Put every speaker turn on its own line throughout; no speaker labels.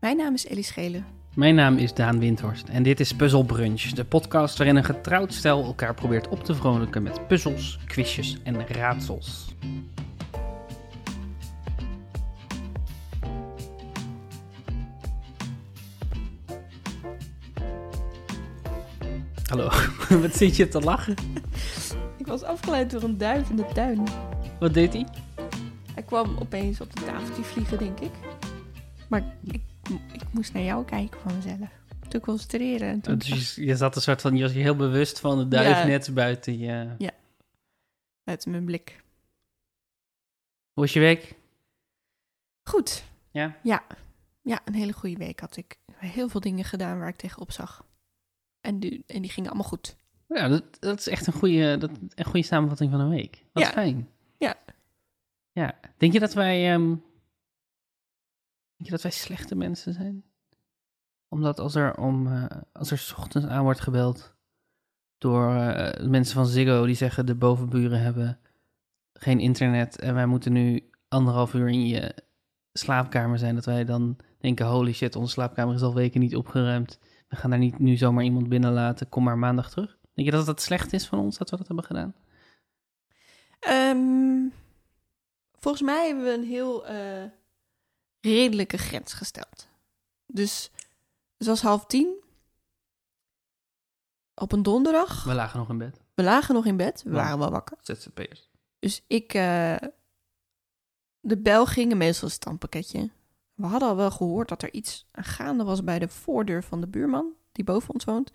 Mijn naam is Ellie Schelen.
Mijn naam is Daan Windhorst en dit is Puzzle Brunch, de podcast waarin een getrouwd stel elkaar probeert op te vrolijken met puzzels, quizjes en raadsels. Hallo, wat zit je te lachen?
Ik was afgeleid door een duif in de tuin.
Wat deed hij?
Hij kwam opeens op de tafeltje vliegen, denk ik. Maar ik, ik moest naar jou kijken van mezelf. Toen concentreren. En toen
Dus je, je zat een soort van, je was heel bewust van de duif
Ja.
net buiten je...
uit mijn blik.
Hoe was je week?
Goed.
Ja?
Ja. Ja, een hele goede week had ik. Heel veel dingen gedaan waar ik tegenop zag. En die, en die gingen allemaal goed.
Ja, dat, dat is echt een goede, dat, een goede samenvatting van een week. Wat
Ja.
fijn.
Ja.
Ja. Denk je dat wij, ehm, denk je dat wij slechte mensen zijn? Omdat als er om, eh, als er 's ochtends aan wordt gebeld door eh, mensen van Ziggo die zeggen de bovenburen hebben geen internet en wij moeten nu anderhalf uur in je slaapkamer zijn, dat wij dan denken holy shit, onze slaapkamer is al weken niet opgeruimd. We gaan daar niet nu zomaar iemand binnen laten. Kom maar maandag terug. Denk je dat dat slecht is van ons dat we dat hebben gedaan?
Ehm, volgens mij hebben we een heel eh, redelijke grens gesteld. Dus het was half tien. Op een donderdag.
We lagen nog in bed.
We lagen nog in bed. We
Ja.
waren wel wakker.
ZZP'ers.
Dus ik... eh, de bel ging en meestal is het dan een pakketje. We hadden al wel gehoord dat er iets aan gaande was bij de voordeur van de buurman. Die boven ons woont.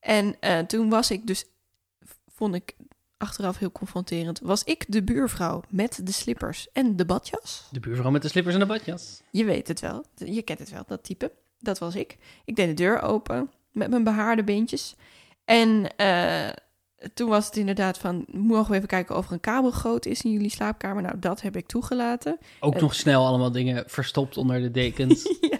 En eh, toen was ik dus... Vond ik achteraf heel confronterend. Was ik de buurvrouw met de slippers en de badjas?
De buurvrouw met de slippers en de badjas.
Je weet het wel. Je kent het wel, dat type. Dat was ik. Ik deed de deur open met mijn behaarde beentjes. En eh, toen was het inderdaad van... mogen we even kijken of er een kabel groot is in jullie slaapkamer? Nou, dat heb ik toegelaten.
Ook
Eh.
nog snel allemaal dingen verstopt onder de dekens.
ja.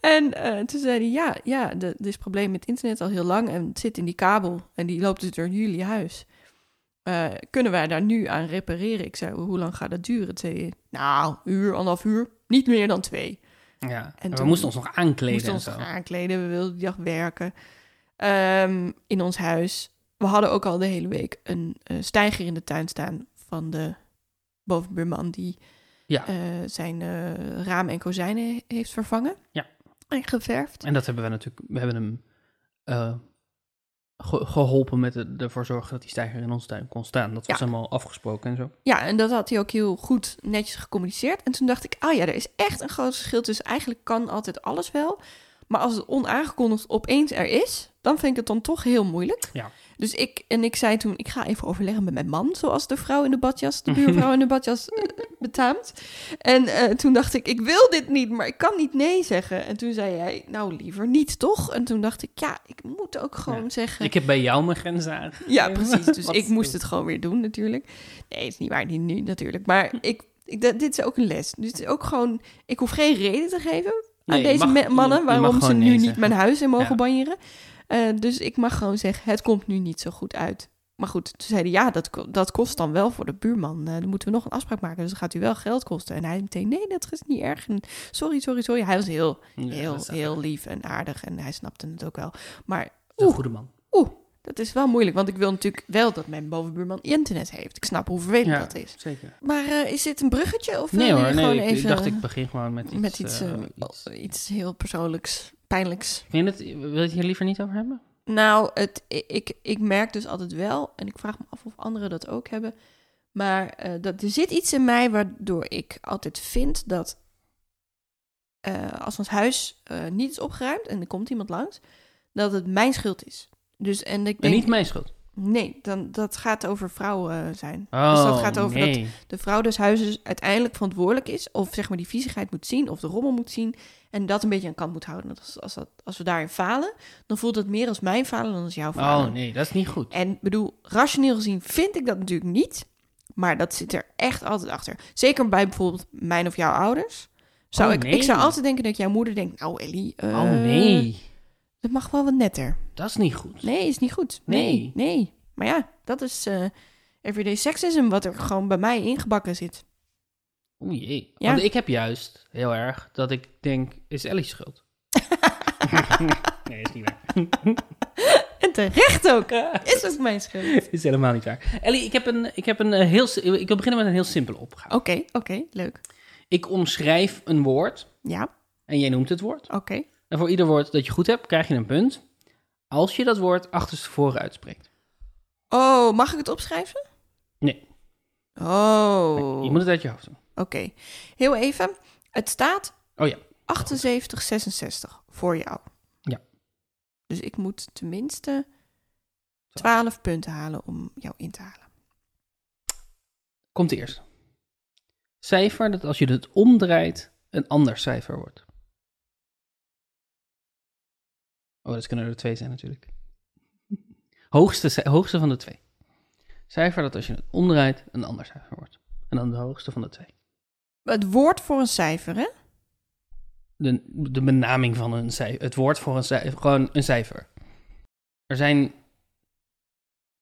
En eh, toen zei hij... ja, ja, de- er is probleem met internet al heel lang... en het zit in die kabel en die loopt dus door jullie huis. Eh, kunnen wij daar nu aan repareren? Ik zei, hoe lang gaat dat duren? Toen zei hij, nou, uur, anderhalf uur. Niet meer dan twee.
ja. En we
toen
moesten ons nog aankleden
moesten
en
ons
zo.
gaan aankleden. We wilden die dag werken Ehm, in ons huis. We hadden ook al de hele week een eh, stijger in de tuin staan van de bovenbuurman die
Ja.
eh, zijn eh, raam en kozijnen he- heeft vervangen.
Ja.
En geverfd.
En dat hebben we natuurlijk, we hebben hem eh, ge- geholpen met het ervoor zorgen dat die stijger in ons tuin kon staan. Dat was
Ja.
helemaal afgesproken en zo.
Ja, en dat had hij ook heel goed netjes gecommuniceerd. En toen dacht ik, ah ja, er is echt een groot verschil tussen eigenlijk kan altijd alles wel. Maar als het onaangekondigd opeens er is, dan vind ik het dan toch heel moeilijk.
Ja.
Dus ik, en ik zei toen, ik ga even overleggen met mijn man, zoals de vrouw in de badjas, de buurvrouw in de badjas eh, betaamt. En eh, toen dacht ik, ik wil dit niet, maar ik kan niet nee zeggen. En toen zei hij, nou liever niet toch? En toen dacht ik, ja, ik moet ook gewoon
Ja.
zeggen,
Ik heb bij jou mijn grenzen aangegeven.
ja, precies. Dus
Ehm, Wat
ik moest
stom.
het gewoon weer doen natuurlijk. Nee, is niet waar, niet nu natuurlijk.
Hm.
Maar ik, ik, dat- dit is ook een les. Dus het is ook gewoon, ik hoef geen reden te geven aan
Nee, je
deze
mag-
me-
je- je
mannen
mag
waarom ze
gewoon
nu
nee
niet
zeggen.
mijn huis in mogen
Ja.
banjeren. Eh, dus ik mag gewoon zeggen, het komt nu niet zo goed uit. Maar goed, toen zeiden ja, dat, ko- dat kost dan wel voor de buurman. Eh, dan moeten we nog een afspraak maken, dus dat gaat u wel geld kosten. En hij meteen, nee, dat is niet erg. En sorry, sorry, sorry. Hij was heel,
Ja,
heel,
dat is
heel lief en aardig en hij snapte het ook wel. Maar
Een
Oeh.
goede man.
Oeh, dat is wel moeilijk, want ik wil natuurlijk wel dat mijn bovenbuurman internet heeft. Ik snap hoe vervelend
Ja.
dat is.
Zeker.
Maar eh, is dit een bruggetje of
Nee
willen
hoor,
jullie
nee,
gewoon
ik, ik
even
dacht ik begin gewoon met iets.
met iets,
eh,
eh,
iets.
iets heel persoonlijks, pijnlijks?
Vind je het, wil je het hier liever niet over hebben?
Nou, het, ik, ik merk dus altijd wel, en ik vraag me af of anderen dat ook hebben, maar eh, dat, er zit iets in mij waardoor ik altijd vind dat eh, als ons huis eh, niet is opgeruimd en er komt iemand langs, dat het mijn schuld is. Dus, en ik
En
denk,
niet mijn schuld.
Nee, dan, dat gaat over vrouwen zijn.
Oh,
dus dat gaat over dat
nee.
de vrouw des huizes uiteindelijk verantwoordelijk is. Of zeg maar die viezigheid moet zien of de rommel moet zien. En dat een beetje aan kant moet houden. Want als, als, dat, als we daarin falen, dan voelt het meer als mijn falen dan als jouw falen.
Oh nee, dat is niet goed.
En ik bedoel, rationeel gezien vind ik dat natuurlijk niet. Maar dat zit er echt altijd achter. Zeker bij bijvoorbeeld mijn of jouw ouders. Zou
Oh,
ik,
nee.
ik zou altijd denken dat jouw moeder denkt, nou Ellie, eh,
Oh nee,
dat mag wel wat netter.
dat is niet goed.
Nee, is niet goed. Nee, nee.
Nee.
Maar ja, dat is eh everyday sexism wat er gewoon bij mij ingebakken zit.
O Oh, jee.
Ja.
Want ik heb juist heel erg dat ik denk, is Ellie's schuld? nee, is niet waar.
En terecht ook. Is ook mijn schuld.
is helemaal niet waar. Ellie, ik heb een, ik heb een eh, heel, si- ik wil beginnen met een heel simpele opgave.
Oké, oké, leuk.
Ik omschrijf een woord
Ja,
en jij noemt het woord.
oké.
En voor ieder woord dat je goed hebt, krijg je een punt. Als je dat woord achterstevoren uitspreekt.
Oh, mag ik het opschrijven?
Nee.
Oh,
Nee, je moet het uit je hoofd doen.
oké. Heel even. Het staat
Oh ja,
7866 voor jou.
Ja.
Dus ik moet tenminste 12 punten halen om jou in te halen.
komt de eerste. Cijfer dat als je het omdraait, een ander cijfer wordt. Oh, dat kunnen er twee zijn natuurlijk. Hoogste, ci- hoogste van de twee. Cijfer dat als je het omdraait, een ander cijfer wordt. En dan de hoogste van de twee.
Het woord voor een cijfer, hè?
de, de benaming van een cijfer. Het woord voor een cijfer. Gewoon een cijfer. Er zijn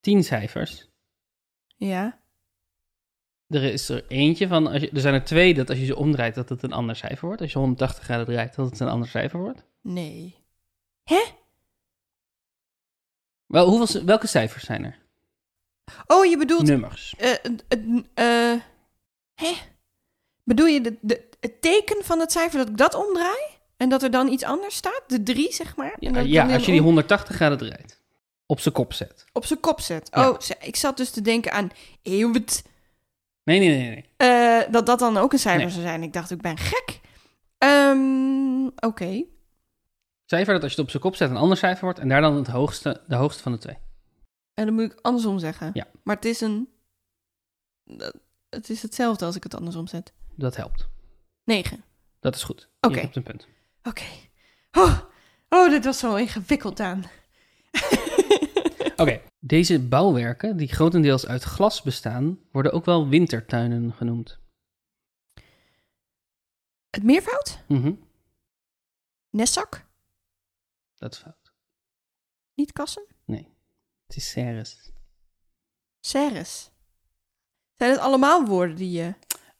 tien cijfers.
Ja.
Er is er eentje van. Als je, er zijn er twee dat als je ze omdraait, dat het een ander cijfer wordt. Als je 180 graden draait, dat het een ander cijfer wordt.
Nee. Hè?
Wel, hoeveel, welke cijfers zijn er?
Oh, je bedoelt
Nummers.
Eh, het- het- eh, hè? Bedoel je de, de, het teken van het cijfer dat ik dat omdraai? En dat er dan iets anders staat? De drie, zeg maar? En
Ja,
dat ik
ja,
dan
als je die 180 graden draait. Op zijn kop zet.
Op zijn kop zet.
Ja.
Oh, ze- ik zat dus te denken aan eeuwt.
Nee, nee, nee. nee.
eh, dat dat dan ook een cijfer
Nee.
zou zijn. Ik dacht, ik ben gek. Ehm, Oké.
Cijfer dat als je het op zijn kop zet, een ander cijfer wordt. En daar dan het hoogste, de hoogste van de twee.
En dan moet ik andersom zeggen.
Ja.
Maar het is een... dat- Het is hetzelfde als ik het andersom zet.
Dat helpt.
Negen.
Dat is goed.
Oké.
Je hebt een punt.
Oké. Oh, oh, dit was zo ingewikkeld aan.
Oké, deze bouwwerken, die grotendeels uit glas bestaan, worden ook wel wintertuinen genoemd.
Het meervoud?
Mhm,
Nessak?
Dat is fout.
Niet kassen?
Het is serres.
Serres. Zijn het allemaal woorden die je...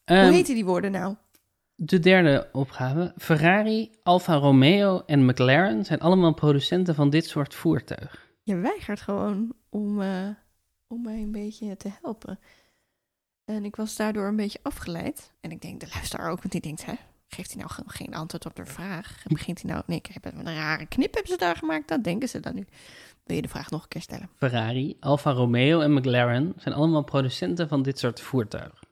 Ehm,
Hoe heten die woorden nou?
de derde opgave. Ferrari, Alfa Romeo en McLaren zijn allemaal producenten van dit soort voertuig.
Je weigert gewoon om, eh, om mij een beetje te helpen. En ik was daardoor een beetje afgeleid. En ik denk, de luisteraar ook, want die denkt, hè, geeft hij nou gewoon geen antwoord op de vraag? Begint hij nou, nee, ik heb een rare knip hebben ze daar gemaakt, dat denken ze dan nu. Wil je de vraag nog een keer stellen?
Ferrari, Alfa Romeo en McLaren zijn allemaal producenten van dit soort voertuig.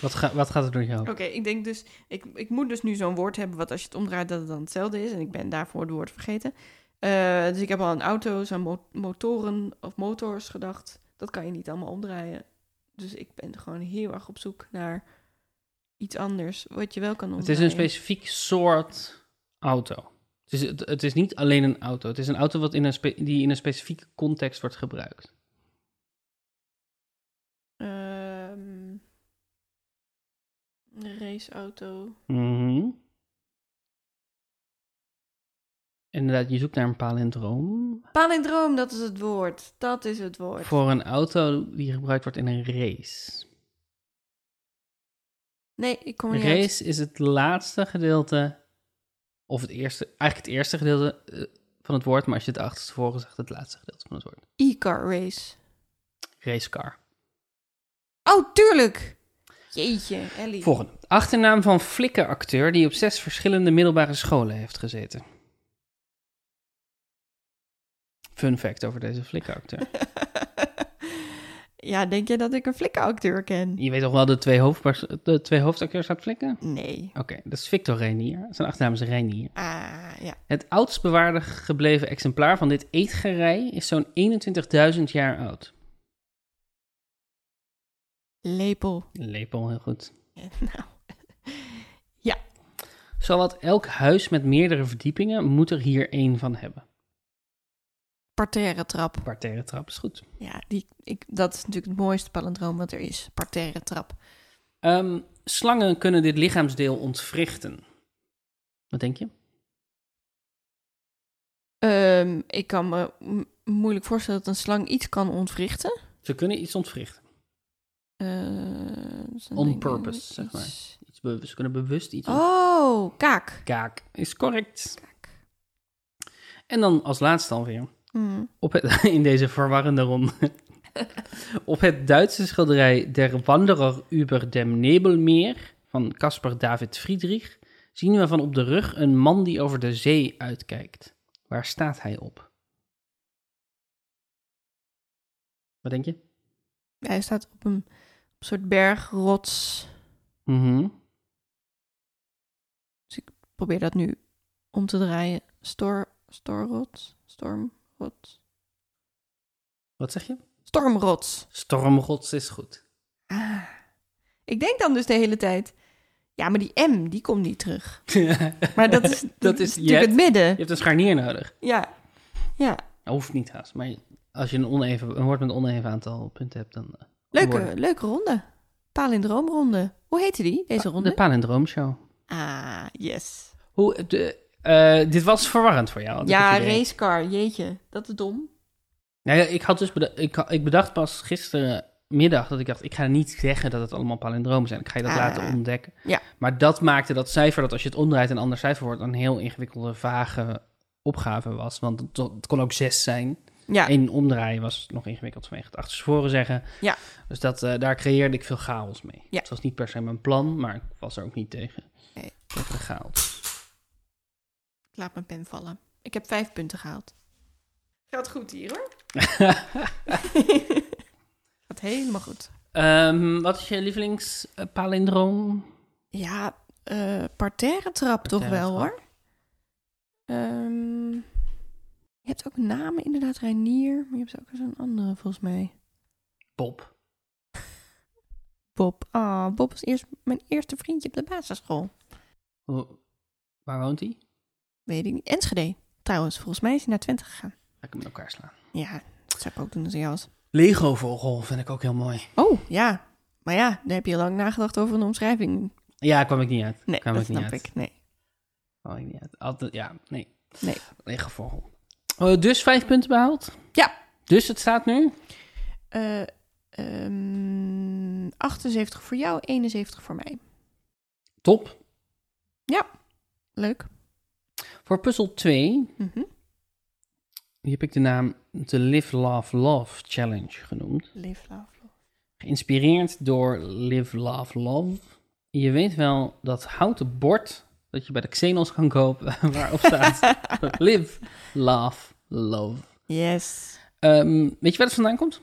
Wat, ga- wat gaat er door je hoofd?
Oké, ik denk dus, ik, ik moet dus nu zo'n woord hebben wat als je het omdraait dat het dan hetzelfde is. En ik ben daarvoor het woord vergeten. Eh, dus ik heb al aan auto's, aan mo- motoren of motors gedacht. Dat kan je niet allemaal omdraaien. Dus ik ben gewoon heel erg op zoek naar iets anders wat je wel kan
Het
omdraaien.
is een specifiek soort auto. Het is, het, het is niet alleen een auto. Het is een auto wat in een spe- die in een specifieke context wordt gebruikt.
Ehm, een raceauto.
Inderdaad, je zoekt naar een palindroom
Palindroom, dat is het woord. Dat is het woord.
voor een auto die gebruikt wordt in een race.
Nee, ik kom er
Een
niet uit.
race is het laatste gedeelte, of het eerste, eigenlijk het eerste gedeelte eh, van het woord, maar als je het achterstevoren zegt, het laatste gedeelte van het woord.
E-car race.
Racecar.
Oh, tuurlijk! Jeetje, Ellie.
Volgende. Achternaam van flikkeracteur die op zes verschillende middelbare scholen heeft gezeten. Fun fact over deze flikkeracteur.
ja, denk je dat ik een flikkenacteur ken?
Je weet toch wel de twee, hoofdpers- de twee hoofdacteurs uit flikken?
Nee.
Oké, dat is Victor Reinier. Zijn achternaam is Reinier.
Ah, ja.
Het oudst bewaarde gebleven exemplaar van dit eetgerei is zo'n 21.000 jaar oud.
Lepel.
Een Lepel, heel goed.
nou.
Zowat elk huis met meerdere verdiepingen moet er hier één van hebben.
Parterre trap.
Parterre trap is goed.
Ja, die, ik, dat is natuurlijk het mooiste palindroom wat er is. Parterre trap.
Ehm, slangen kunnen dit lichaamsdeel ontwrichten. Wat denk je?
Ehm, ik kan me m- moeilijk voorstellen dat een slang iets kan ontwrichten.
Ze kunnen iets ontwrichten.
Eh, dat zijn
On
dingen
purpose, zeg maar.
mm, iets-
Iets bewust. Ze kunnen bewust iets op
Oh, kaak.
kaak. Is correct.
Kaak.
En dan als laatste dan weer.
Mm.
Op het, in deze verwarrende ronde. op het Duitse schilderij Der Wanderer über dem Nebelmeer van Caspar David Friedrich zien we van op de rug een man die over de zee uitkijkt. Waar staat hij op? Wat denk je?
Hij staat op een, op een soort bergrots.
Mhm.
Probeer dat nu om te draaien. Stor, storrots? Stormrots?
Wat zeg je?
Stormrots.
Stormrots is goed.
Ah. Ik denk dan dus de hele tijd... Ja, maar die M, die komt niet terug. Maar dat is, dat
is-
is
je
natuurlijk het
Je
midden.
hebt een scharnier nodig.
Ja. Ja.
Dat hoeft niet haast, maar als je een, oneven, een woord met een oneven aantal punten hebt, dan... eh,
Leuke,
worden.
leuke ronde. Palindroomronde. Hoe heette die, deze
Ah, De Oh,
ronde?
Palindroomshow.
Ah, yes.
Hoe, de, eh, dit was verwarrend voor jou. had ik
Ja,
het idee.
racecar. Jeetje, dat is dom.
Nou ja, ik, had dus beda- ik, ha- ik bedacht pas gisterenmiddag dat ik dacht, ik ga niet zeggen dat het allemaal palindromen zijn. Ik ga je dat
Ah.
laten ontdekken.
Ja.
Maar dat maakte dat cijfer, dat als je het omdraait een ander cijfer wordt, een heel ingewikkelde, vage opgave was. Want het, het kon ook zes zijn.
Ja,
Eén omdraaien was nog ingewikkeld vanwege het achterstevoren zeggen.
Ja.
Dus dat, eh, daar creëerde ik veel chaos mee.
Ja.
Dus dat was niet per se mijn plan, maar ik was er ook niet tegen.
Nee.
Tegen de chaos.
ik laat mijn pen vallen. Ik heb vijf punten gehaald. Gaat goed hier, hoor. Gaat helemaal goed.
Ehm, wat is je lievelingspalindroom?
Ja, eh parterre trap toch wel, hoor. Ehm, je hebt ook namen, inderdaad. Reinier, maar je hebt ook zo'n andere, volgens mij.
Bob.
Bob. Ah, Bob was eerst mijn eerste vriendje op de basisschool.
Ho- Waar woont hij?
Weet ik niet. Enschede, trouwens. Volgens mij is hij naar Twente gegaan.
Ga ik hem in elkaar slaan.
Ja, dat zou ik ook doen als hij jou was.
Lego vogel vind ik ook heel mooi.
Oh, ja. Maar ja, daar heb je lang nagedacht over een omschrijving.
Ja, kwam ik niet uit.
Nee,
kwam
dat
ik niet
snap
uit.
ik. Nee.
Kwam ik niet uit. Altijd, ja, nee.
Nee.
Lego vogel. Eh, dus vijf punten behaald?
Ja.
Dus het staat nu?
Eh, ehm, 78 voor jou, 71 voor mij.
Top.
Leuk.
Voor puzzel 2
Mhm.
Hier heb ik de naam de Live, Love, Love Challenge genoemd.
Live, love, love.
Geïnspireerd door Live, Love, Love. Je weet wel dat houten bord dat je bij de Xenos kan kopen, waarop staat Live, Love, Love.
Yes.
Ehm, weet je waar het vandaan komt?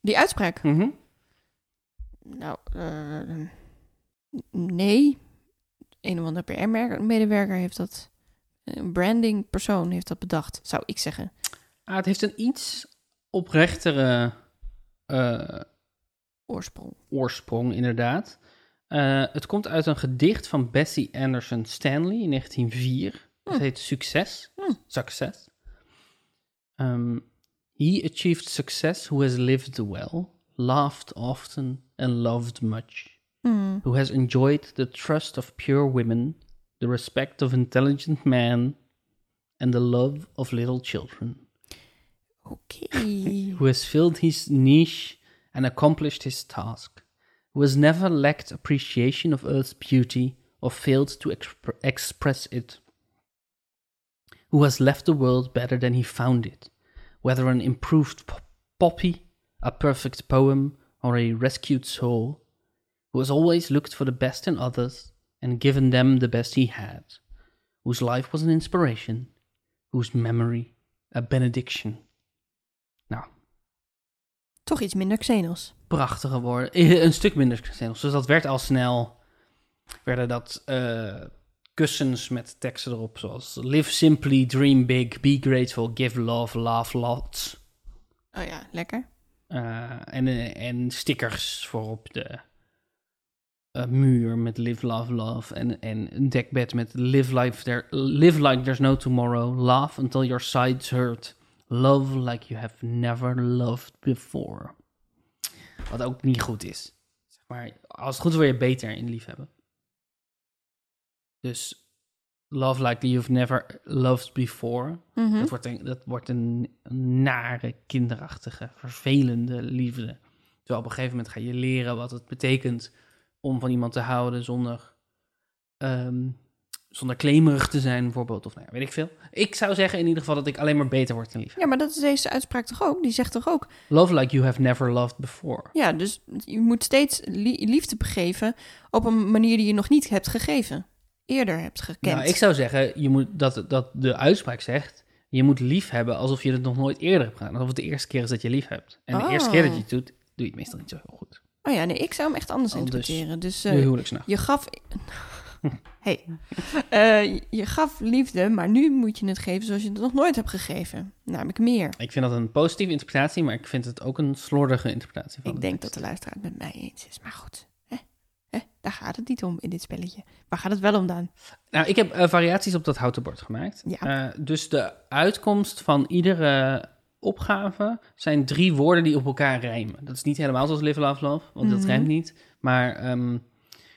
Die uitspraak?
Mhm.
Nou, eh, nee. Een of ander PR-medewerker heeft dat... Een branding persoon heeft dat bedacht, zou ik zeggen.
Ah, het heeft een iets oprechtere eh,
Oorsprong.
oorsprong, inderdaad. Eh, het komt uit een gedicht van Bessie Anderson Stanley in 1904. Het
Hm.
heet Succes.
Hm.
Success. Ehm, he achieved success who has lived well, laughed often and loved much.
Hmm.
Who has enjoyed the trust of pure women, the respect of intelligent men, and the love of little children.
Oké.
who has filled his niche and accomplished his task, who has never lacked appreciation of Earth's beauty or failed to exp- express it, who has left the world better than he found it, whether an improved p- poppy, a perfect poem, or a rescued soul, who has always looked for the best in others and given them the best he had, whose life was an inspiration, whose memory a benediction. Nou,
Toch iets minder Xenos.
prachtige woorden. Eh, Een stuk minder Xenos. Dus dat werd al snel. Werden dat eh, kussens met teksten erop. Zoals Live simply, dream big, be grateful, give love, laugh lots.
Oh ja, lekker.
Eh, en, eh, en stickers voor op de eh, muur met live, love, love. En, en een dekbed met live, life there, live like there's no tomorrow. Laugh until your sides hurt. Love like you have never loved before. Wat ook niet goed is. Zeg maar, als het goed is, word je beter in liefhebben. Dus love like you've never loved before.
Mhm.
Dat wordt, een, dat wordt een nare, kinderachtige, vervelende liefde. Terwijl op een gegeven moment ga je leren wat het betekent om van iemand te houden zonder, ehm, zonder claimerig te zijn, bijvoorbeeld. Of nou ja, weet ik veel. Ik zou zeggen in ieder geval dat ik alleen maar beter word in liefde.
Ja, maar dat is deze uitspraak toch ook? Die zegt toch ook...
Love like you have never loved before.
Ja, dus je moet steeds li- liefde begeven op een manier die je nog niet hebt gegeven. Eerder hebt gekend.
Nou, ik zou zeggen je moet, dat, dat de uitspraak zegt... Je moet lief hebben alsof je het nog nooit eerder hebt gedaan. Alsof het de eerste keer is dat je lief hebt. En de
Oh.
eerste keer dat je het doet, doe je het meestal niet zo heel goed.
Oh ja, nee, ik zou hem echt anders
Anders.
interpreteren. Dus
De
eh,
huwelijksnacht.
je gaf... hey. Eh, je gaf liefde, maar nu moet je het geven zoals je het nog nooit hebt gegeven. Namelijk meer.
Ik vind dat een positieve interpretatie, maar ik vind het ook een slordige interpretatie. Van
Ik
de
denk dat
tekst.
de luisteraar het met mij eens is. Maar goed, hè? Hè? daar gaat het niet om in dit spelletje. Waar gaat het wel om dan?
Nou, ik heb eh, variaties op dat houten bord gemaakt.
Ja.
Eh, dus de uitkomst van iedere opgave zijn drie woorden die op elkaar rijmen. Dat is niet helemaal zoals Live Love Love, want dat
Mhm.
rijmt niet. Maar, ehm,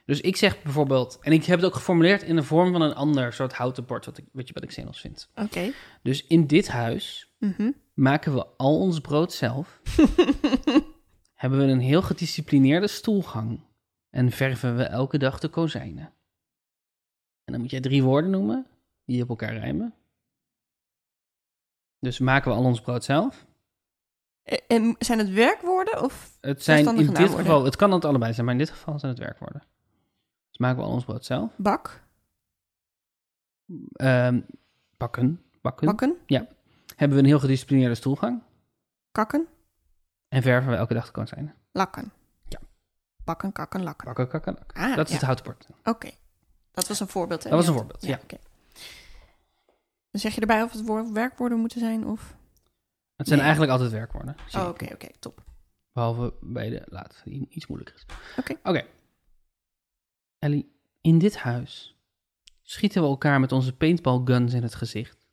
dus ik zeg bijvoorbeeld... En ik heb het ook geformuleerd in de vorm van een ander soort houten bord... wat ik, wat je, wat ik zinnig vind.
Oké.
Dus in dit huis
Mhm.
maken we al ons brood zelf. hebben we een heel gedisciplineerde stoelgang. En verven we elke dag de kozijnen. En dan moet jij drie woorden noemen die op elkaar rijmen. Dus maken we al ons brood zelf.
Eh, En zijn het werkwoorden of...
Het zijn in
Zelfstandige
dit
naamwoorden.
geval, het kan het allebei zijn, maar in dit geval zijn het werkwoorden. Dus maken we al ons brood zelf.
Bak,
Ehm, bakken, bakken.
bakken,
Hebben we een heel gedisciplineerde stoelgang.
kakken,
En verven we elke dag de kozijnen.
lakken.
Ja.
Bakken, kakken, lakken.
Bakken, kakken, lakken.
Ah,
Dat is
ja.
het houten bord.
Oké. Dat was een voorbeeld. hè?
Dat was een
Ja.
voorbeeld, ja.
oké. Dan zeg je erbij of het woord werkwoorden moeten zijn of...
Het zijn
Nee.
eigenlijk altijd werkwoorden. zie
Oh,
ik.
oké, oké, top.
Behalve bij de laatste, die iets moeilijker is.
Oké.
Oké. Ellie, in dit huis schieten we elkaar met onze paintballguns in het gezicht.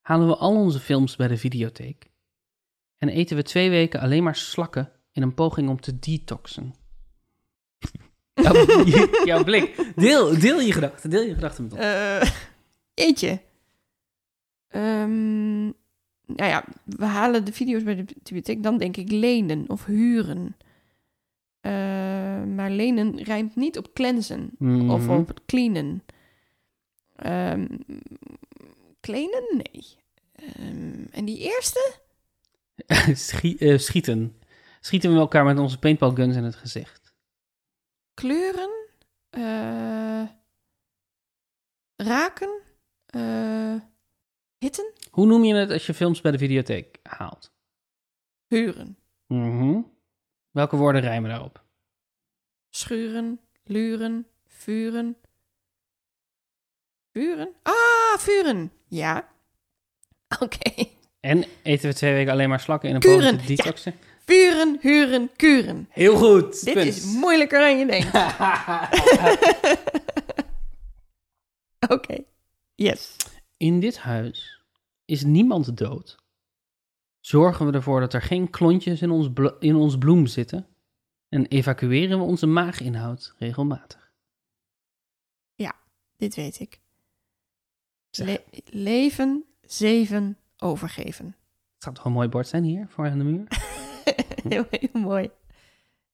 Halen we al onze films bij de videotheek. En eten we twee weken alleen maar slakken in een poging om te detoxen. Jouw, jouw blik. Deel, deel je gedachten. Deel je gedachten met ons.
Eh, Eentje. Ehm, nou ja, we halen de video's bij de bibliotheek. Dan denk ik lenen of huren. Eh, maar lenen rijmt niet op cleansen Eh, of
Mhm.
op cleanen. Ehm cleanen? Nee. Ehm, en die eerste?
Schie- eh, schieten. Schieten we elkaar met onze paintballguns in het gezicht.
Kleuren? Eh, raken? Eh, hitten?
Hoe noem je het als je films bij de videotheek haalt?
Huren.
Mhm. Welke woorden rijmen daarop?
Schuren, luren, vuren. Vuren? Ah, vuren. Ja. Oké.
En eten we twee weken alleen maar slakken in een
Kuren,
poging te
ja.
detoxen?
Vuren, huren, kuren.
Heel goed.
Dit is moeilijker dan je denkt. Oké. Yes.
in dit huis is niemand dood. Zorgen we ervoor dat er geen klontjes in ons, blo- in ons bloem zitten. En evacueren we onze maaginhoud regelmatig.
Dit weet ik.
Zeg.
Le- leven, zeven, overgeven.
Het zou toch een mooi bord zijn hier, voor aan de muur?
heel, heel mooi.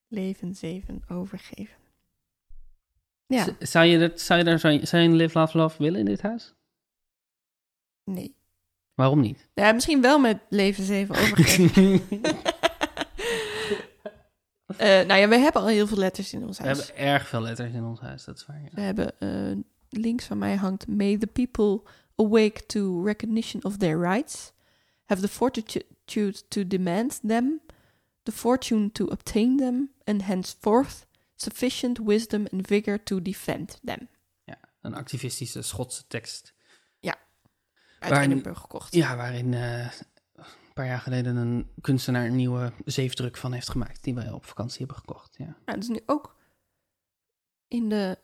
Leven, zeven, overgeven. Ja,
Z- Zou je, dat, zou je daar zo'n zou je een live, love, love willen in dit huis?
nee.
Waarom niet?
Nou, ja, misschien wel met leven, zeven, overgeven. Eh, nou ja, we hebben al heel veel letters in ons
we
huis.
hebben erg veel letters in ons huis, dat is waar. ja.
We hebben eh, links van mij hangt May the people awake to recognition of their rights, have the fortitude to demand them, the fortune to obtain them, and henceforth sufficient wisdom and vigor to defend them.
Ja, een activistische Schotse tekst.
Uit
Waar-
Edinburgh gekocht.
Ja, waarin eh, een paar jaar geleden een kunstenaar een nieuwe zeefdruk van heeft gemaakt. Die wij op vakantie hebben gekocht. Ja.
Nou, dat is nu ook in de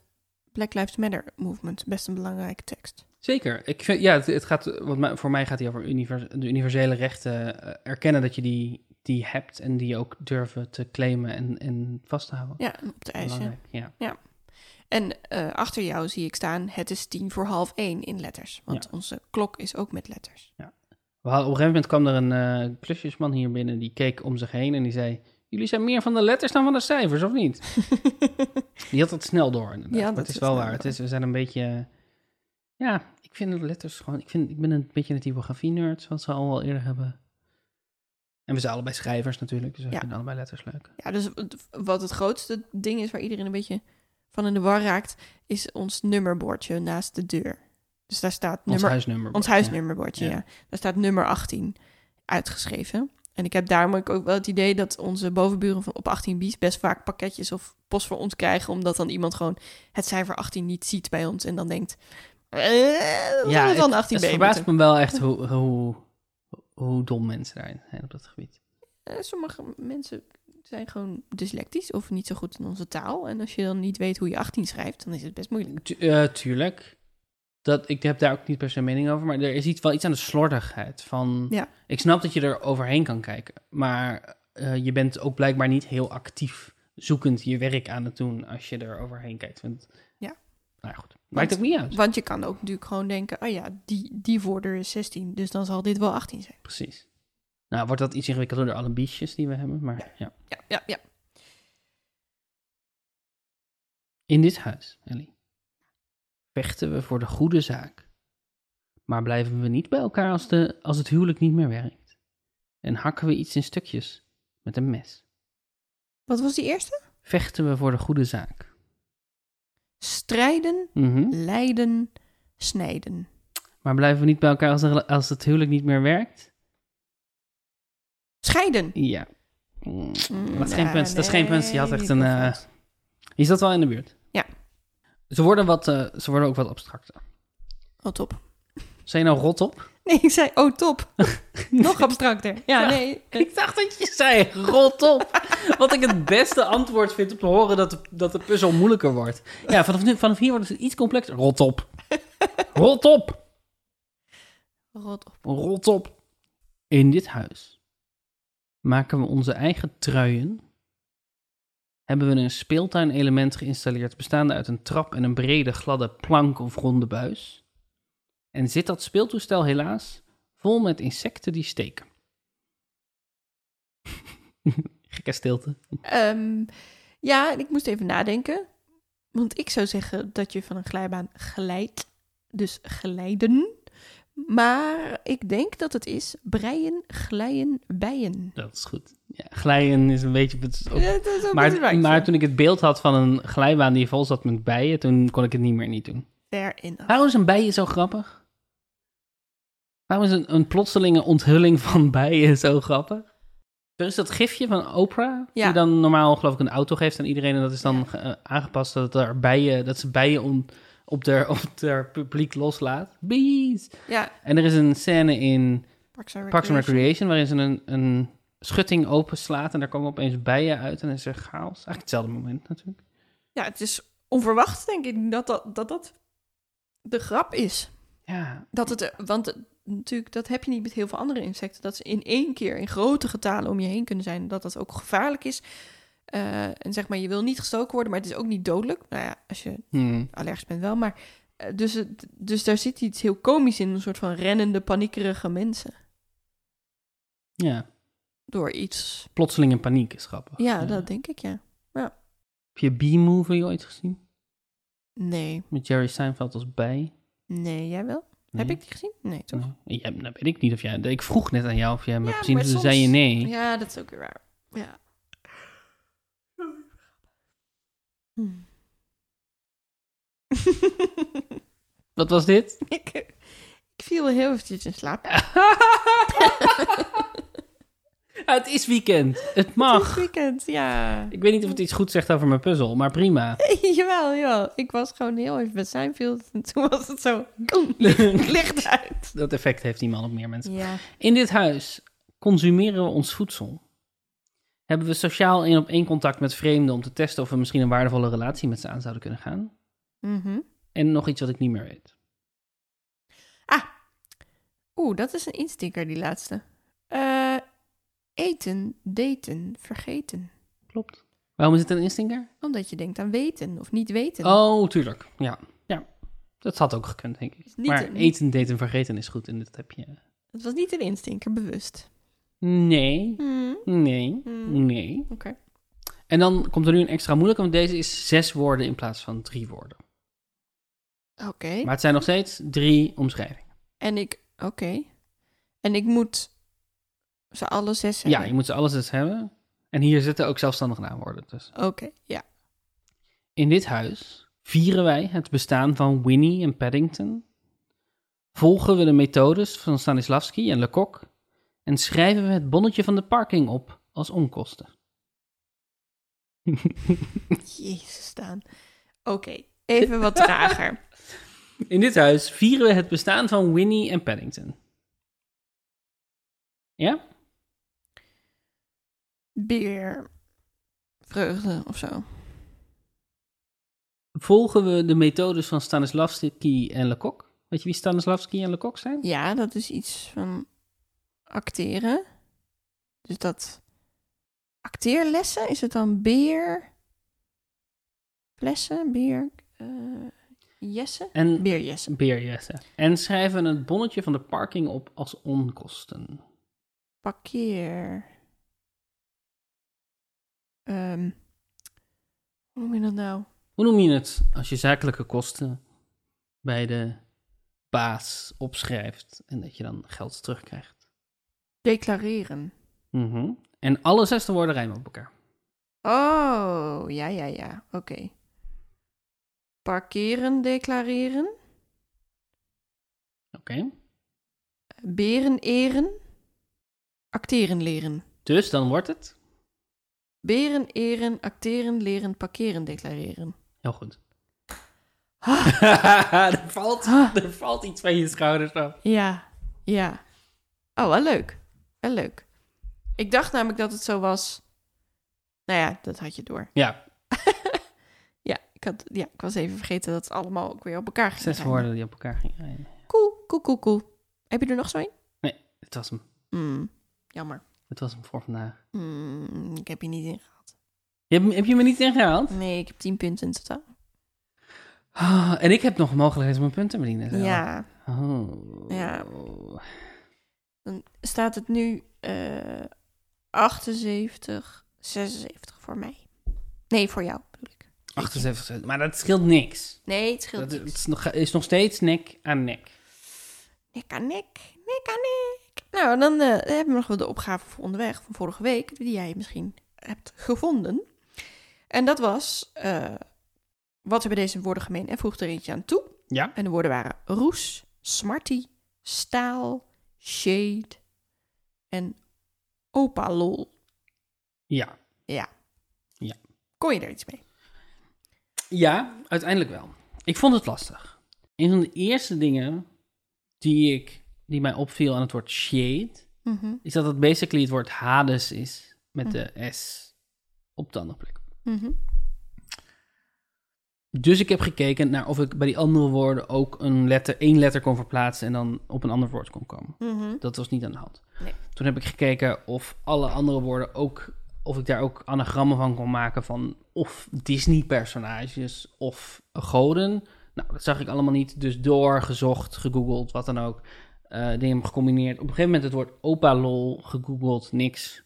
Black Lives Matter movement best een belangrijke tekst.
Zeker. Ik vind, ja, het, het gaat, wat mij- voor mij gaat hij over univers- de universele rechten. eh, erkennen dat je die, die hebt en die ook durven te claimen en, en vast te houden.
Ja, op de ijs. ja.
Belangrijk, ja.
En eh, achter jou zie ik staan, het is tien voor half één in letters. Want onze klok is ook met letters.
We hadden- op een gegeven moment kwam er een eh, klusjesman hier binnen. Die keek om zich heen en die zei... Jullie zijn meer van de letters dan van de cijfers, of niet? Die had dat snel door, inderdaad.
Ja,
maar
dat
het is
is
wel
snel
waar. Het
door.
is, we zijn een beetje... Ja, ik vind de letters gewoon... Ik, vind, ik ben een beetje een typografie-nerd, zoals we al wel eerder hebben. En we zijn allebei schrijvers natuurlijk, dus we
Ja.
vinden allebei letters leuk.
Ja, dus het- wat het grootste ding is waar iedereen een beetje van in de war raakt, is ons nummerbordje naast de deur. Dus daar staat
Ons
nummer,
huisnummer.
ons
Ja.
huisnummerbordje,
Ja.
ja. Daar staat nummer 18 uitgeschreven. En ik heb daarom ook wel het idee dat onze bovenburen van op 18 bies best vaak pakketjes of post voor ons krijgen, omdat dan iemand gewoon het cijfer 18 niet ziet bij ons en dan denkt, eh,
Ja,
ja, het dan
het-
18
Het
b
verbaast me wel echt hoe, hoe, hoe dom mensen daarin zijn op dat gebied.
Eh, sommige mensen zijn gewoon dyslectisch of niet zo goed in onze taal. En als je dan niet weet hoe je 18 schrijft, dan is het best moeilijk.
Tu- eh, tuurlijk. Dat, ik heb daar ook niet per se een mening over, maar er is iets, wel iets aan de slordigheid van...
Ja.
Ik snap dat je er overheen kan kijken, maar eh, je bent ook blijkbaar niet heel actief zoekend je werk aan het doen als je er overheen kijkt. Want,
Ja.
Nou ja, goed, maakt ook niet uit.
Want je kan ook natuurlijk gewoon denken, ah ja, die, die voordeur is 16, dus dan zal dit wel 18 zijn.
Precies. Nou, wordt dat iets ingewikkelder door alle biesjes die we hebben, maar ja.
Ja, ja, ja.
In dit huis, Ellie, vechten we voor de goede zaak. Maar blijven we niet bij elkaar als, de, als het huwelijk niet meer werkt. En hakken we iets in stukjes met een mes.
Wat was die eerste?
Vechten we voor de goede zaak.
Strijden,
Mhm.
lijden, snijden.
Maar blijven we niet bij elkaar als, de rela- als het huwelijk niet meer werkt?
Scheiden.
Ja. Mm, Dat is geen
Ja,
punt. Dat is geen
nee,
punt. Je had echt
niet
een...
goed
eh,
punt.
je zat wel in de buurt.
Ja.
Ze worden, wat, eh, ze worden ook wat abstracter.
Oh, top.
Zijn je nou rot op?
Nee, ik zei, oh, top. Nog abstracter. Ja,
Ja.
nee.
Ik dacht dat je zei rot op. Wat ik het beste antwoord vind om te horen dat de, dat de puzzel moeilijker wordt. Ja, vanaf, nu, vanaf hier wordt het iets complexer. Rot op. Rot op.
Rot op.
Rot op. In dit huis maken we onze eigen truien. Hebben we een speeltuinelement geïnstalleerd bestaande uit een trap en een brede gladde plank of ronde buis. En zit dat speeltoestel helaas vol met insecten die steken. Gekke stilte.
Ehm, ja, en ik moest even nadenken. Want ik zou zeggen dat je van een glijbaan glijdt. Dus glijden. Maar ik denk dat het is breien, glijden, bijen.
Dat is goed. Ja, glijden is een beetje... het is ook-
Ja, dat is ook best
Oh. Maar,
right,
maar
ja.
toen ik het beeld had van een glijbaan die vol zat met bijen, toen kon ik het niet meer niet doen.
Fair enough.
Waarom is een bijen zo grappig? Waarom is een, een plotselinge onthulling van bijen zo grappig? Er is dat gifje van Oprah,
Ja.
die dan normaal geloof ik een auto geeft aan iedereen. En dat is dan eh, aangepast dat, er bijen, dat ze bijen on- op haar op der publiek loslaat. Bees!
Ja,
En er is een scène in
Parks and
Parks and
Recreation.
Recreation waarin ze een, een schutting openslaat. En daar komen opeens bijen uit en dan is er chaos. Eigenlijk hetzelfde moment natuurlijk.
Ja, het is onverwacht, denk ik, dat dat, dat, dat de grap is.
Ja,
Dat het, eh, want het- natuurlijk, dat heb je niet met heel veel andere insecten. Dat ze in één keer in grote getalen om je heen kunnen zijn. Dat dat ook gevaarlijk is. Eh, en zeg maar, je wil niet gestoken worden, maar het is ook niet dodelijk. Nou ja, als je
hmm.
allergisch bent wel, maar... eh, Dus, het, dus daar zit iets heel komisch in, een soort van rennende, paniekerige mensen.
ja.
Door iets.
plotseling in paniek is grappig.
Ja, dat denk ik, ja.
Heb je B-movie ooit gezien?
Nee,
Met Jerry Seinfeld als bij?
nee, jij wel?
Nee.
Heb ik die gezien? Nee, toch?
Nee. Ja, nou weet ik niet of jij... Ik vroeg net aan jou of jij hem
Ja,
hebt gezien,
maar
dus toen
soms-
zei je nee.
Ja, dat is ook weer waar. Ja. Hm.
Wat was dit?
ik, ik viel heel eventjes in slaap.
Ah, het is weekend. Het
Het
mag.
is weekend, ja.
Ik weet niet of het iets goed zegt over mijn puzzel, maar prima.
jawel, jawel. Ik was gewoon heel even bij Seinfeld en toen was het zo... Licht uit.
dat effect heeft die man op meer mensen.
Ja.
In dit huis consumeren we ons voedsel. Hebben we sociaal één op één contact met vreemden om te testen of we misschien een waardevolle relatie met ze aan zouden kunnen gaan?
Mhm.
En nog iets wat ik niet meer weet.
Oeh, dat is een instikker, die laatste. Eh, eten, daten, vergeten.
Klopt. Waarom is het een instinker?
Omdat je denkt aan weten of niet weten.
Oh, tuurlijk. Ja. ja. Dat had ook gekund, denk ik.
Is niet
maar
een-
eten, daten, vergeten is goed. En dat heb je.
Het was niet een instinker, bewust.
Nee,
Hmm,
nee,
hmm.
nee.
Oké.
En dan komt er nu een extra moeilijke, want deze is zes woorden in plaats van drie woorden.
Oké.
Maar het zijn nog steeds drie omschrijvingen.
En ik... Oké. En ik moet ze alle zes
Ja,
hebben?
je moet ze alles eens hebben. En hier zitten ook zelfstandig naamwoorden tussen.
Oké, ja.
In dit huis vieren wij het bestaan van Winnie en Paddington. Volgen we de methodes van Stanislavski en Lecoq. En schrijven we het bonnetje van de parking op als onkosten.
Jezus staan. Oké, even wat trager.
In dit huis vieren we het bestaan van Winnie en Paddington. Ja?
Beer. Vreugde of zo.
Volgen we de methodes van Stanislavski en Lecoq? Weet je wie Stanislavski en Lecoq zijn?
Ja, dat is iets van acteren. Dus dat. Acteerlessen? Is het dan beer? Lessen? Beer. eh jessen?
En
Beerjessen.
Beerjessen. En schrijven het bonnetje van de parking op als onkosten.
Parkeer. Ehm, hoe noem je dat nou?
Hoe noem je het als je zakelijke kosten bij de baas opschrijft en dat je dan geld terugkrijgt?
Declareren.
Mhm. En alle zesde woorden rijmen op elkaar.
Oh, ja, ja, ja. Oké. Parkeren, declareren.
Oké.
Beren eren. Acteren leren.
Dus dan wordt het.
Beren eren, acteren leren, parkeren declareren.
Heel goed.
Ah,
er, valt, er valt iets van je schouders af.
ja, ja. Oh, wel leuk. Wel leuk. Ik dacht namelijk dat het zo was. Nou ja, dat had je door.
Ja,
Ja, ik, had, ja, ik was even vergeten dat het allemaal ook weer op elkaar ging.
zes woorden die op elkaar gingen rijmen.
Cool, cool, cool, cool. Heb je er nog zo een?
Het was hem.
Hmm, jammer.
Het was hem voor vandaag.
Hmm, ik heb je niet in.
Je hebt, heb je me niet ingehaald?
Nee, ik heb 10 punten in totaal.
Ah, en ik heb nog mogelijkheid om mijn punten te verdienen. zelf.
Ja,
Oh.
Ja. dan staat het nu eh 78, 76 voor mij. Nee, voor jou bedoel ik.
78 cent. Maar dat scheelt niks.
Nee, het scheelt
Dat
niks.
is nog, is nog steeds nek aan nek.
Nek aan nek, nek aan nek. Nou, dan eh, hebben we nog wel de opgave voor onderweg van vorige week, die jij misschien hebt gevonden. En dat was, eh, wat hebben deze woorden gemeen? En voeg er eentje aan toe.
Ja.
En de woorden waren roes, smarty, staal, shade en opalol.
Ja.
Ja.
Ja.
Kon je er iets mee?
Ja, uiteindelijk wel. Ik vond het lastig. Een van de eerste dingen die, ik, die mij opviel aan het woord shade,
Mhm,
is dat het basically het woord Hades is met de S op de andere plek.
mhm.
Dus ik heb gekeken naar of ik bij die andere woorden ook een letter, één letter kon verplaatsen en dan op een ander woord kon komen.
Mhm.
Dat was niet aan de hand.
Nee.
Toen heb ik gekeken of alle andere woorden ook, of ik daar ook anagrammen van kon maken van of Disney-personages of goden. Nou, dat zag ik allemaal niet. Dus doorgezocht, gegoogeld, wat dan ook. Eh dingen gecombineerd. Op een gegeven moment het woord opa-lol gegoogeld, niks.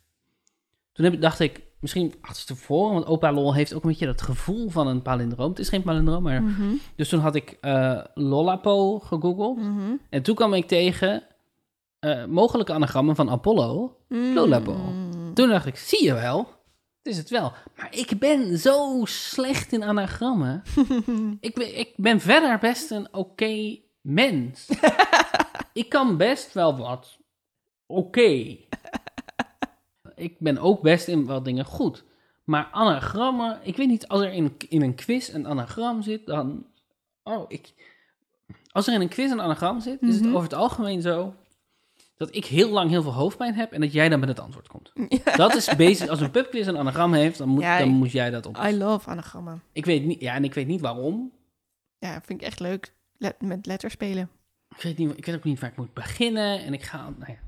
Toen heb, ik- dacht ik, misschien achterstevoren, want opa-lol heeft ook een beetje dat gevoel van een palindroom. Het is geen palindroom, maar...
Mhm,
Dus toen had ik eh, Lollapo gegoogeld.
mhm.
En toen kwam ik tegen eh, mogelijke anagrammen van Apollo.
Hmm.
Lollapop.
mhm. Mm.
Toen dacht ik, zie je wel, het is het wel. Maar ik ben zo slecht in anagrammen. ik, ben, ik ben verder best een oké mens. ik kan best wel wat oké. ik ben ook best in wat dingen goed. Maar anagrammen, ik weet niet, als er in, in een quiz een anagram zit, dan... Oh, ik... Als er in een quiz een anagram zit, is het
Mhm.
over het algemeen zo dat ik heel lang heel veel hoofdpijn heb en dat jij dan met het antwoord komt. Dat is basic. Als een pubquiz een anagram heeft, dan moet,
Ja,
dan
ik-
moet jij dat op.
I love anagrammen.
Ik weet niet, ja, en ik weet niet waarom.
Ja, vind ik echt leuk. Let- met letters spelen.
Ik weet, niet, ik weet ook niet waar ik moet beginnen. En ik ga. Nou ja.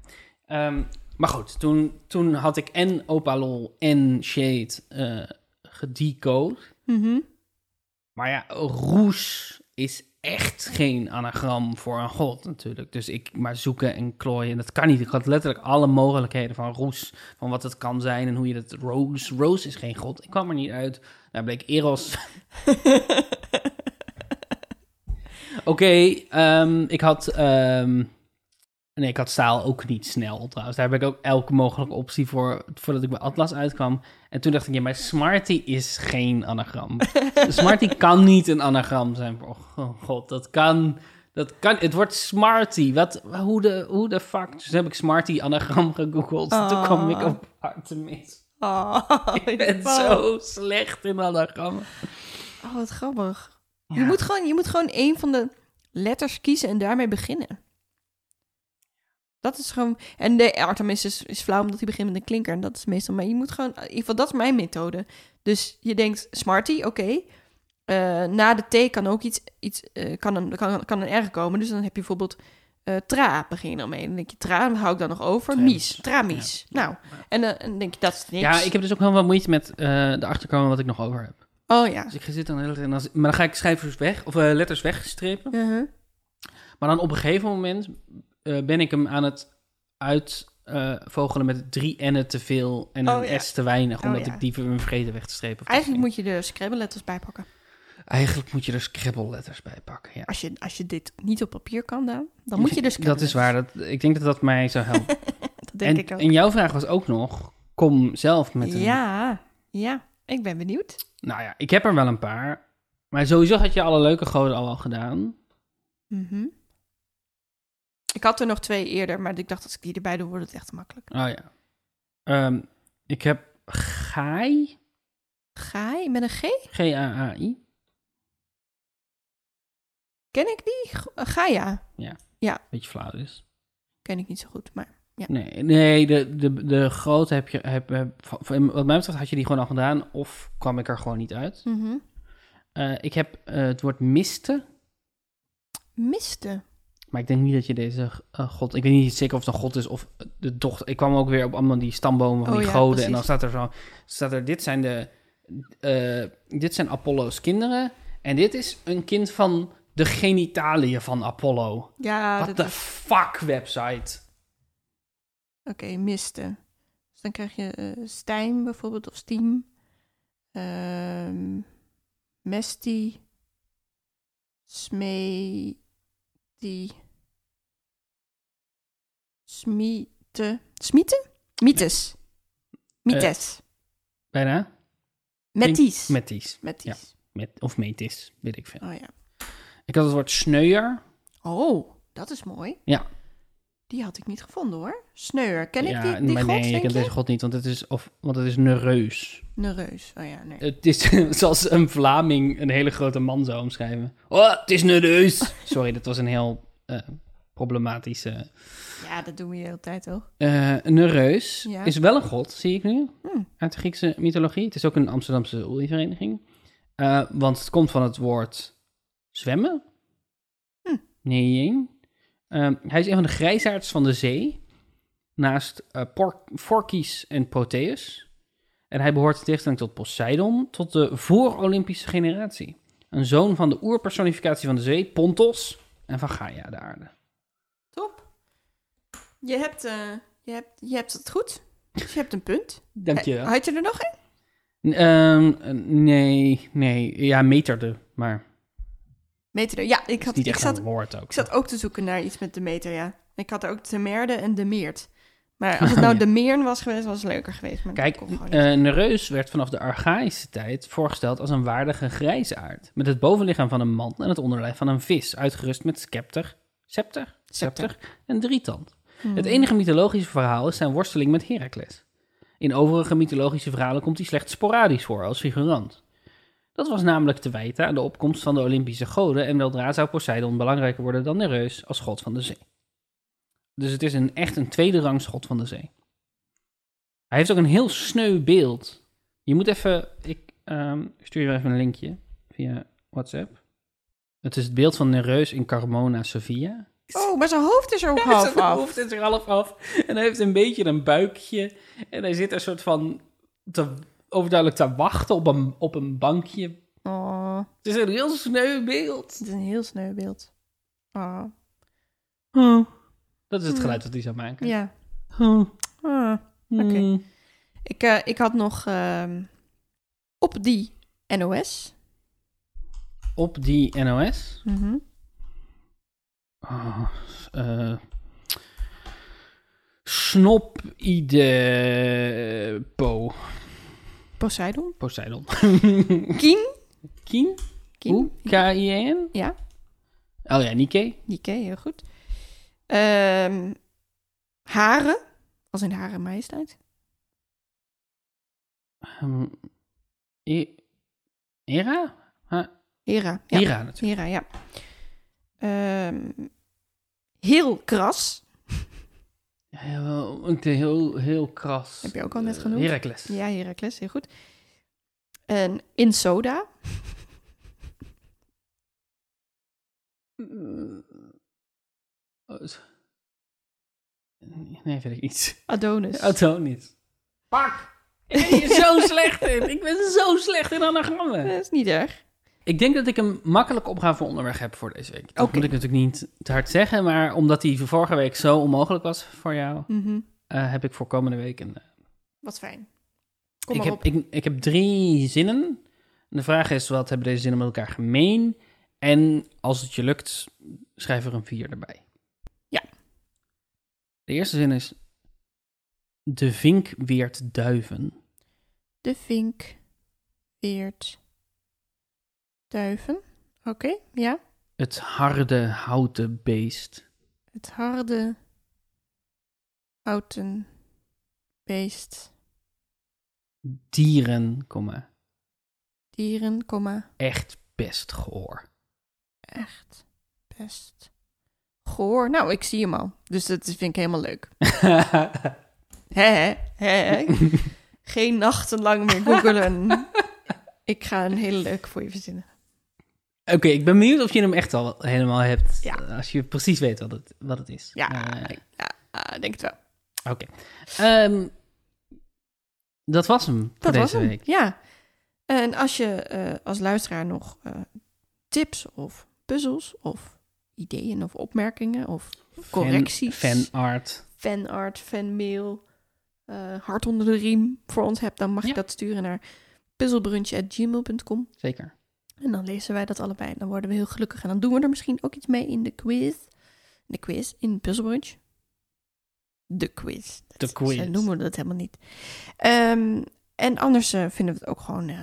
Ehm, maar goed, toen, toen had ik en Opalol en Shade eh gedecode.
Mhm.
Maar ja, roes is echt geen anagram voor een god natuurlijk. Dus ik maar zoeken en klooien, dat kan niet. Ik had letterlijk alle mogelijkheden van roes, van wat het kan zijn en hoe je dat... Rose, Rose is geen god. Ik kwam er niet uit. Daar bleek Eros. Oké, ehm, ik had... ehm, nee, ik had staal ook niet snel trouwens. Daar heb ik ook elke mogelijke optie voor, voordat ik bij Atlas uitkwam. En toen dacht ik, ja, maar Smarty is geen anagram. Smarty kan niet een anagram zijn. Oh oh god, dat kan. Dat kan. Het wordt Smarty. Wat, hoe, de, hoe de fuck? Dus heb ik Smarty anagram gegoogeld. Toen kwam ik op Artemis.
Oh,
Ik ben zo slecht in anagrammen.
Oh, wat grappig. Je, moet gewoon, je moet gewoon een van de letters kiezen en daarmee beginnen. Dat is gewoon... En de Artemis is, is flauw omdat hij begint met een klinker. En dat is meestal... Maar je moet gewoon... In ieder geval, dat is mijn methode. Dus je denkt, smarty, oké. Eh, na de T kan ook iets... iets eh, kan, een, kan, kan een R komen. Dus dan heb je bijvoorbeeld... eh, tra begin je dan mee. Dan denk je, tra hou ik dan nog over.
Tramis.
Mies, tramies. Nou, en eh, dan denk je, dat is niks.
Ja, ik heb dus ook heel wat moeite met eh, de achterkomen wat ik nog over heb.
Oh ja.
Dus ik zit dan de hele tijd... en als- Maar dan ga ik schrijvers weg, of eh, letters wegstrepen.
Mhm.
Maar dan op een gegeven moment eh, ben ik hem aan het uitvogelen met drie N'en te veel en
Oh,
een
ja.
S te weinig.
Oh,
Omdat
ja.
ik die ver- vergeten weg te strepen. of te
Eigenlijk
schrijven.
moet je de scrabble-letters bijpakken.
Eigenlijk moet je er scribbelletters bij pakken, ja.
Als je, als je dit niet op papier kan, dan, dan moet je dus...
Dat is waar. Dat, ik denk dat dat mij zou helpen.
Dat denk
en,
ik ook.
en jouw vraag was ook nog, kom zelf met een...
Ja, ja. Ik ben benieuwd.
Nou ja, ik heb er wel een paar. Maar sowieso had je alle leuke goden al wel gedaan.
Mhm. Ik had er nog twee eerder, maar ik dacht als ik die erbij doe, wordt het echt makkelijk.
Oh ja. Ehm, ik heb Gaai,
Gaai met een G?
G-A-A-I.
Ken ik die? G- Gaia.
Beetje flauw dus.
Ken ik niet zo goed, maar...
Nee, nee de, de, de grote heb je... Heb, heb- van- van- wat mij betreft had je die gewoon al gedaan. Of kwam ik er gewoon niet uit.
Mhm.
Eh, ik heb eh, het woord misten.
Miste.
Maar ik denk niet dat je deze eh, god... Ik weet niet zeker of het een god is of de dochter... Ik kwam ook weer op allemaal die stambomen van
Oh
die
ja,
goden. En
precies.
dan staat er zo... Staat er, dit zijn de... eh, dit zijn Apollo's kinderen. En dit is een kind van de genitaliën van Apollo.
Ja,
What
dat
the
is-
fuck website?
Oké, miste. Dus dan krijg je eh Stijn bijvoorbeeld, of Steam. Ehm, mesti. Smeti. Smiete. Smiete? Mietes.
Eh,
Mietes.
Bijna?
Metties.
Metis.
Metties.
Met, of metis, weet ik veel.
Oh ja.
Ik had het woord sneuier.
Oh, dat is mooi.
Ja.
Die had ik niet gevonden hoor. Sneur. Ken
ja,
ik die, die
maar
god,
nee, ik
denk
ken
je?
deze god niet, want het is, of, want het is neureus.
Neureus. Oh ja, nee.
Het is zoals een Vlaming een hele grote man zou omschrijven. Oh, het is neureus! Sorry, dat was een heel eh, problematische...
Ja, dat doen we de hele tijd toch?
Eh neureus
Ja.
is wel een god, zie ik nu,
Hmm.
uit de Griekse mythologie. Het is ook een Amsterdamse oervereniging. Eh want het komt van het woord zwemmen.
Hm.
Neeing. Ehm, hij is een van de grijsaards van de zee, naast eh Por- Phorkys en Proteus. En hij behoort in tegenstelling tot Poseidon, tot de voor-Olympische generatie. Een zoon van de oerpersonificatie van de zee, Pontos, en van Gaia de aarde.
Top. Je hebt, eh, je hebt, je hebt het goed. Dus je hebt een punt.
Dankjewel.
Had je er nog een?
N- ehm, eh, nee, nee. Ja, meterde, maar
Meter. Ja, ik,
het is
had,
niet
ik,
echt
zat,
een woord ook.
ik zat ook te zoeken naar iets met de meter, ja. Ik had er ook de merde en de meert. Maar als het nou
Ja.
de meern was geweest, was het leuker geweest. Maar dat
Kijk,
kon gewoon niet.
eh, Nereus werd vanaf de archaïsche tijd voorgesteld als een waardige grijsaard. Met het bovenlichaam van een man en het onderlijf van een vis, uitgerust met scepter, scepter, scepter en drietand.
Hmm.
Het enige mythologische verhaal is zijn worsteling met Heracles. In overige mythologische verhalen komt hij slechts sporadisch voor als figurant. Dat was namelijk te wijten aan de opkomst van de Olympische goden en weldra zou Poseidon belangrijker worden dan Nereus als god van de zee. Dus het is een, echt een tweede rangs god van de zee. Hij heeft ook een heel sneu beeld. Je moet even. Ik ehm, ik stuur je even een linkje via WhatsApp. Het is het beeld van Nereus in Carmona, Sofia.
Oh, maar zijn hoofd is er ook
Hij
half
zijn
af.
hoofd is er half af. En hij heeft een beetje een buikje. En hij zit een soort van. Te, overduidelijk te wachten op een, op een bankje
Oh,
Het is een heel sneu beeld.
het is een heel sneu beeld. Oh,
Dat is het
Hmm.
geluid dat hij zou maken.
ja.
Oh.
Ah. Oké.
Hmm.
Ik, eh, ik had nog ehm, op die NOS.
Op die NOS.
Mhm.
Oh, eh, snop ide po.
Poseidon.
Poseidon.
Kien.
Kien?
Kien.
Hoe? K-I-E-N?
Ja.
Oh ja, Nikkei.
Die ken je heel goed. Ehm, haren. Als in haren majesteit.
Ehm, E- Era?
Hera. Ja.
Era natuurlijk.
Hera, ja. Ehm, heel kras.
Heel, heel, heel kras.
Heb je ook al net
Eh,
genoemd?
Heracles.
Ja, Heracles, heel goed. En in soda.
Oh, is- Nee, weet ik niet.
Adonis.
Adonis. Pak! Ik ben hier zo slecht in. Ik ben zo slecht in
dat
anagrammen.
is niet erg.
Ik denk dat ik een makkelijke opgave voor onderweg heb voor deze week. Dat
Oké.
moet ik natuurlijk niet te hard zeggen, maar omdat die van vorige week zo onmogelijk was voor jou,
Mhm.
eh, heb ik voor komende week een...
Wat fijn. Kom
ik,
maar
heb,
op.
ik, ik heb drie zinnen. En de vraag is, wat hebben deze zinnen met elkaar gemeen? En als het je lukt, schrijf er een vier erbij.
Ja.
De eerste zin is... De vink weert duiven.
De vink weert duiven. Oké, ja.
Het harde houten beest.
Het harde houten beest,
Dieren, komma,
dieren, komma,
echt best gehoor.
echt best goor. Nou, ik zie hem al. Dus dat vind ik helemaal leuk. Hè, hè, hè, hè. Geen nachten lang meer googelen. ik ga een hele leuke voor je verzinnen.
Oké, ik ben benieuwd of je hem echt al helemaal hebt. eh,
Ja.
Als je precies weet wat het, wat het is. Eh,
Ja,
Maar,
ik ja, ah, denk het wel.
Ehm, dat was hem
Dat
voor deze
was hem.
week.
Ja. En als je eh, als luisteraar nog eh, tips of puzzels of ideeën of opmerkingen of correcties,
Fan, fanart.
fanart, fanmail, eh hart onder de riem voor ons hebt, dan mag
Ja.
je dat sturen naar puzzelbrunch.gmail.com.
Zeker.
En dan lezen wij dat allebei. Dan worden we heel gelukkig. En dan doen we er misschien ook iets mee in de quiz. De quiz in Puzzlebrunch. De quiz.
De
Dat-
quiz.
Ze noemen dat helemaal niet. Ehm, en anders eh, vinden we het ook gewoon eh,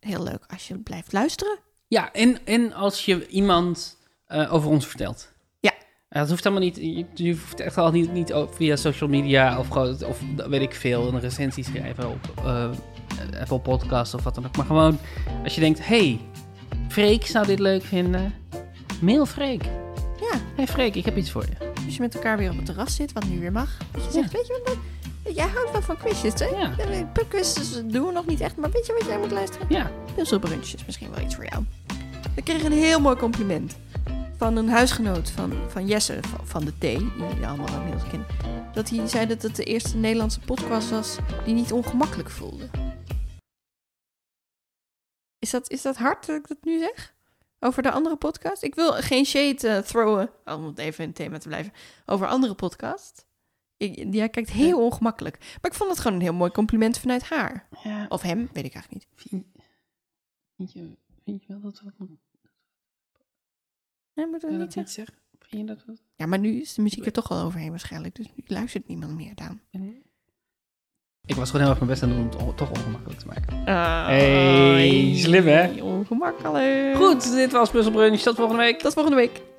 heel leuk als je blijft luisteren.
Ja, en, en als je iemand eh, over ons vertelt.
Ja.
Eh, dat hoeft helemaal niet. Je, je hoeft echt al niet, niet ook via social media of, gewoon- of weet ik veel, een recensie schrijven op eh, Apple Podcasts of wat dan ook. Maar gewoon als je denkt: hey, Freek zou dit leuk vinden. Mail Freek.
Ja,
hey Freek, ik heb iets voor je.
als je met elkaar weer op het terras zit, wat nu weer mag. Dat je
Ja.
zegt, weet je wat, leuk? jij houdt wel van quizjes, hè?
Ja.
Quizjes doen we nog niet echt, maar weet je wat jij moet luisteren?
Ja,
Puzzelbrunch is misschien wel iets voor jou. We kregen een heel mooi compliment van een huisgenoot van, van Jesse van, van de T, die jullie allemaal inmiddels kennen. Dat hij zei dat het de eerste Nederlandse podcast was die niet ongemakkelijk voelde. Is dat, is dat hard dat ik dat nu zeg? Over de andere podcast? Ik wil geen shade eh, throwen, om het even in het thema te blijven, over andere podcast. Ik, jij kijkt heel ongemakkelijk. Maar ik vond het gewoon een heel mooi compliment vanuit haar.
ja
Of hem, weet ik eigenlijk niet.
vind, vind je, vind je wel dat we dat
Nee, moet dat
niet
niet zeggen.
zeggen? Vind je dat we-
Ja, maar nu is de muziek er toch al overheen waarschijnlijk. Dus nu luistert niemand meer, Daan.
Ik was gewoon heel erg mijn best aan het doen om het on- toch ongemakkelijk te maken.
Hey,
slim, hè?
Ongemakkelijk.
Goed, dit was Puzzle Brunch. Tot volgende week.
tot volgende week.